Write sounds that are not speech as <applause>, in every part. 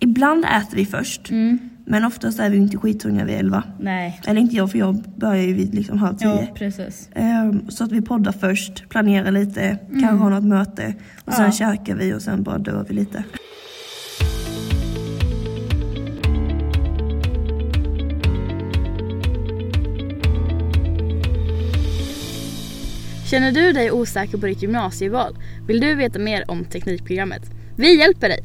Ibland äter vi först. Mm. Men oftast är vi ju inte skithungriga vid elva. Nej. Eller inte jag för jag börjar ju vid liksom halv tio. Ja, precis. Ehm, Så att vi poddar först, planerar lite, kanske har något möte och sen Ja. käkar vi och sen bara dör vi lite. Känner du dig osäker på ditt gymnasieval? Vill du veta mer om Teknikprogrammet? Vi hjälper dig!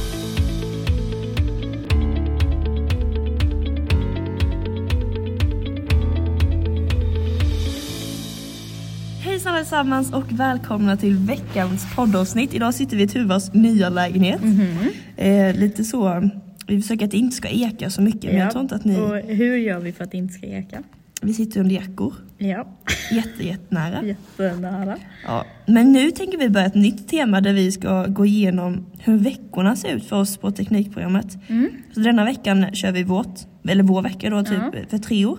Hejsan allesammans och välkomna till veckans poddavsnitt. Idag sitter vi i Tuvas nya lägenhet. Eh, lite så, vi försöker att det inte ska eka så mycket men jag tror inte att ni... Och hur gör vi för att det inte ska eka? Vi sitter under jackor, Ja, jätte, jättenära. jättenära. Ja. Men nu tänker vi börja ett nytt tema där vi ska gå igenom hur veckorna ser ut för oss på Teknikprogrammet. Så denna veckan kör vi vårt, eller vår vecka då, typ för tre år.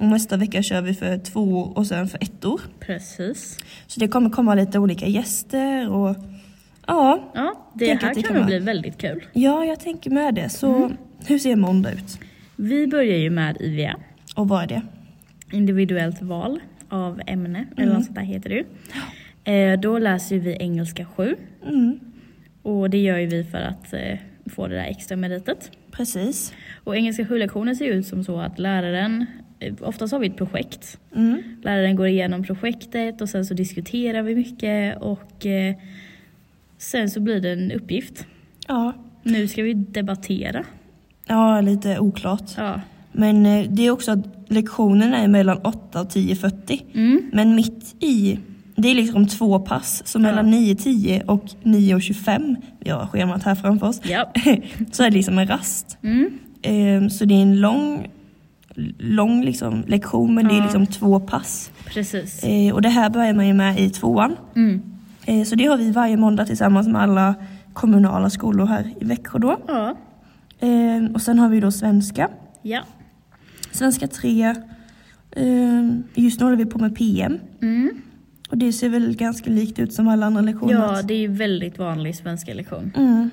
Och nästa vecka kör vi för två år och sen för ett år. Precis. Så det kommer komma lite olika gäster och ja, Ja, det Tänk att här det kan kan nog vara- bli väldigt kul. ja jag tänker med det. Så hur ser måndag ut? Vi börjar ju med IVA, Och vad är det? individuellt val av ämne, Mm. eller vad sånt där heter det ju. Eh, då läser ju vi engelska 7 Mm, och det gör ju vi för att eh, få det där extra meritet. precis. Och engelska 7-lektionen ser ju ut som så att läraren, eh, oftast har vi ett projekt Mm, Läraren går igenom projektet och sen så diskuterar vi mycket och eh, sen så blir det en uppgift. ja. Nu ska vi debattera. ja, lite oklart. Ja. Men eh, det är också att lektionerna är mellan 8 och 10.40. Mm. Men mitt i, det är liksom två pass, så mellan 9.10 och 9.25, vi har schemat här framför oss, Ja. <laughs> så är det liksom en rast. Mm. Ehm, Så det är en lång, lång liksom lektion, men det är liksom två pass. Precis. Eh, Och det här börjar man ju med i tvåan. Mm. Eh, Så det har vi varje måndag tillsammans med alla kommunala skolor här i Växjö då. Ja. Ehm, Och sen har vi då svenska. Ja. Svenska 3. Just nu håller vi på med PM. Mm. Och det ser väl ganska likt ut som alla andra lektioner. Ja, det är ju väldigt vanlig svenska lektion. Mm.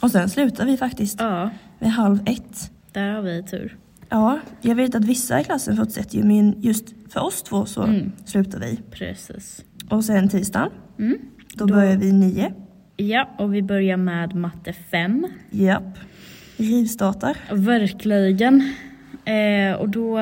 Och sen slutar vi faktiskt Ja, vid halv ett. där har vi tur. Ja, jag vet att vissa i klassen fortsätter ju men just för oss två så Mm. slutar vi. Precis. Och sen tisdagen, Mm. då, börjar vi nio. Ja, och vi börjar med matte 5. Japp. Rivstartar. Verkligen. Eh, och då,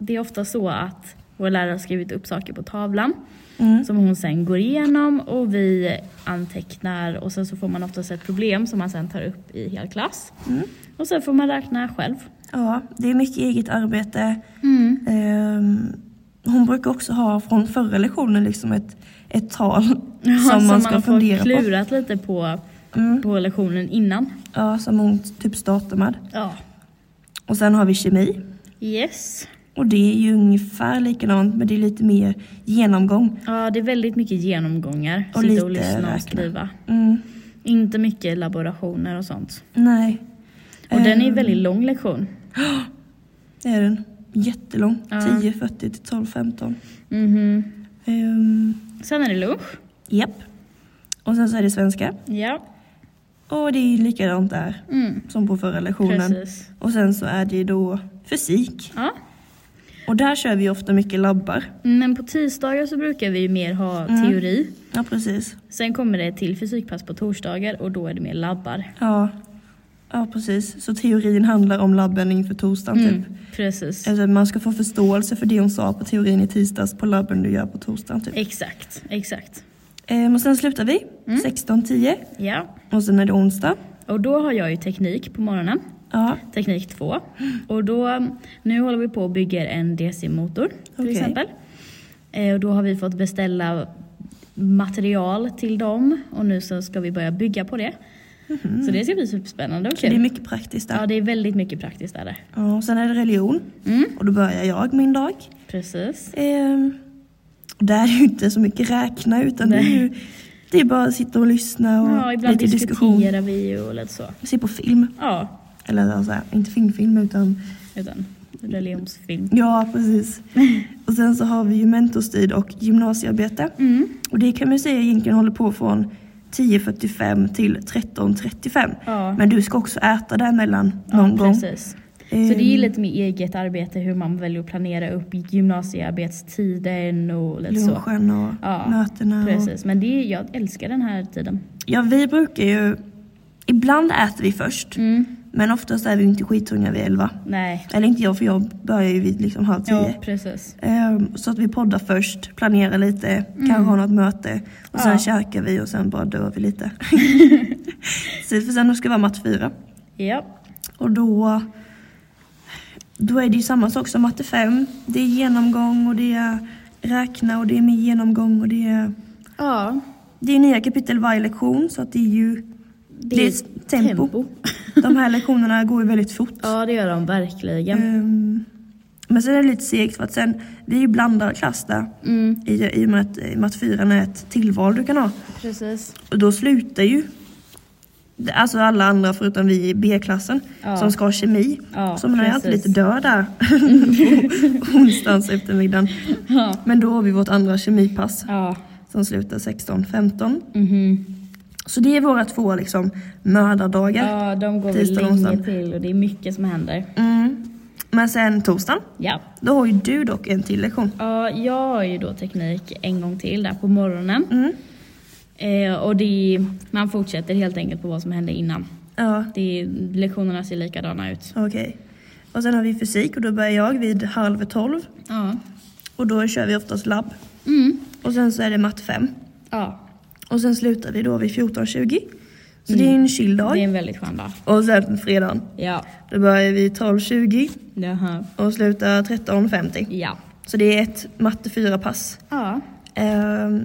det är ofta så att vår lärare har skrivit upp saker på tavlan. Mm. som hon sen går igenom och vi antecknar och sen så får man oftast ett problem som man sen tar upp i hel klass. Mm. Och sen får man räkna själv. Ja, det är mycket eget arbete. Mm. Ehm, hon brukar också ha från förra lektionen liksom ett, ett tal Så som man ska har fått fundera på. klurat lite på, Mm. på lektionen innan. Ja, som hon typ startar med. Ja. Och sen har vi kemi. Yes. Och det är ju ungefär likadant men det är lite mer genomgång. Ja, det är väldigt mycket genomgångar. Och Sitta och lite lyssna och räkna. skriva. Mm. Inte mycket laborationer och sånt. Nej, Och den är Ehm. en väldigt lång lektion. <gasps> det är den. Jättelång. Ja. 10.40 till 12.15. Mhm. Ehm, Sen är det lunch. Japp. Och sen så är det svenska. Ja. Och det är ju likadant där Mm. som på förra lektionen. Precis. Och sen så är det då fysik. Ja. Och där kör vi ju ofta mycket labbar. Men på tisdagar så brukar vi ju mer ha Mm. teori. Ja, precis. Sen kommer det till fysikpass på torsdagar och då är det mer labbar. Ja. ja, precis. Så teorin handlar om labben inför torsdagen typ. Mm, precis. Alltså, man ska få förståelse för det hon sa på teorin i tisdags på labben du gör på torsdagen. Typ. Exakt, exakt. Ehm, och sen slutar vi Mm. 16.10 Ja. och sen är det onsdag. Och då har jag ju teknik på morgonen. Ja, Teknik 2. Och då, nu håller vi på och bygger en DC-motor till Okej. exempel. Eh, och då har vi fått beställa material till dem och nu så ska vi börja bygga på det. Så det ska bli superspännande och Så Mhm. det är kul. mycket praktiskt där. Ja, det är väldigt mycket praktiskt där. Ja, och sen är det religion. Mm. Och då börjar jag min dag. Precis. Ehm, och där är ju inte så mycket räkna utan det är ju det är bara att sitta och lyssna och Ja, ibland lite diskussion. diskuterar vi ju och lite så. Se på film. Ja, Eller alltså, inte filmfilm utan utan religionsfilm. ja <laughs> precis. och sen så har vi ju mentorstid och gymnasiearbete. Mm. Och det kan man ju säga egentligen håller på från 10.45 till 13.35. Ja. Men du ska också äta där mellan någon Ja, gång. Eh. precis. Så det är ju lite med eget arbete hur man väljer att planera upp gymnasiearbetstiden och lite så. Lunchen och mötena. Och... Precis, men det, är- jag älskar den här tiden. Ja, vi brukar ju... Ibland äter vi först. Mm. Men oftast är vi ju inte skithungriga vid elva. Nej. Eller inte jag, för jag börjar ju vid liksom halv tio. Ja, precis. Ehm, så att vi poddar först, planerar lite, kanske har något möte. Och sen Mm. Ja. käkar vi och sen bara dör vi <laughs> lite. så, för sen ska det vara matte fyra. Ja, Och då... Då är det ju samma sak som matte fem. Det är genomgång och det är räkna och det är mer genomgång och det är... ja Det är nya kapitel varje lektion så att det är ju det är s- tempo. tempo. <laughs> De här lektionerna går ju väldigt fort. ja det gör de verkligen. Ehm, men sen är det lite segt för att sen, vi är ju blandad klass där. Mm. I, I och med att eh, matte 4 är ett tillval du kan ha. Precis. Och då slutar ju det- alltså alla andra förutom vi i B-klassen Ja. som ska ha kemi. Ja, så man är alltid precis. lite död <laughs> där på onsdags eftermiddagen. Ja. Men då har vi vårt andra kemipass Ja. som slutar 16.15. Mhm. Så det är våra två liksom mördardagar. ja, de går väl Tisdag, länge onsdag. till och det är mycket som händer. Mm. Men sen torsdagen, Ja. då har ju du dock en till lektion. Ja, jag har ju då teknik en gång till där på morgonen. Mm. Eh, och det är, man fortsätter helt enkelt på vad som hände innan. Ja, Det är, lektionerna ser likadana ut. okej. Och sen har vi fysik och då börjar jag vid halv tolv. Ja. Och då kör vi oftast labb. Mm. Och sen så är det matte 5. Ja, Och sen slutar vi då vid 14.20. Så det är en chill dag. Mm. det är en väldigt skön dag. Och sen fredagen, Ja. då börjar vi 12.20 Jaha. och slutar 13.50. Ja. Så det är ett matte 4-pass. Ja, Ehm,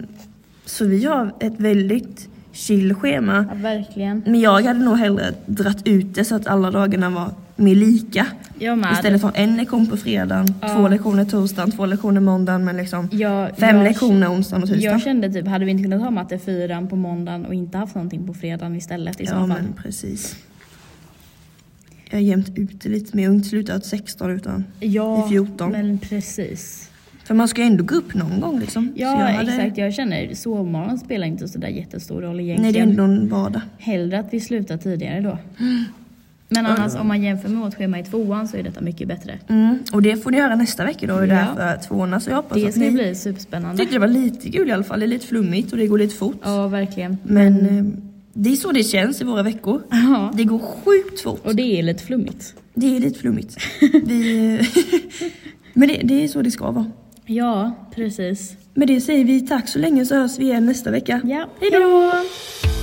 så vi har ett väldigt chill schema. ja verkligen. Men jag hade nog hellre dratt ut det så att alla dagarna var mer lika. Jag med. Istället för en lektion på fredagen, två lektioner torsdagen, två lektioner måndagen men liksom Jag- fem jag- lektioner onsdagen och Jag tisdagen. kände typ, hade vi inte kunnat ha matte fyran på måndagen och inte haft någonting på fredagen istället i så Ja fall? men precis. Jag har jämt ut det lite mer, jag har inte slutat 16 utan Ja, i 14. men precis. För man ska ju ändå gå upp någon gång liksom. Ja, Så jag hade- exakt. Jag känner sovmorgon spelar inte så där jättestor roll Nej det är egentligen. ändå en vardag. Hellre att vi slutar <gasps> tidigare då. Men annars om man jämför med vårt schema i tvåan så är detta mycket bättre. Mm. Och det får ni göra nästa vecka då, det är Ja. därför tvåorna så jag hoppas Det att ska ju ni bli superspännande. tyckte det var lite kul i alla fall. Det är lite flummigt och det går lite fort. Ja, verkligen. Men eh, det är så det känns i våra veckor. Ja. Det går sjukt fort. Och det är lite flummigt. Det är lite <laughs> flummigt. Vi, eh, <laughs> men det, det är så det ska vara. Ja, precis. Med det säger vi tack så länge så hörs vi igen nästa vecka. Ja, Hej då! hejdå!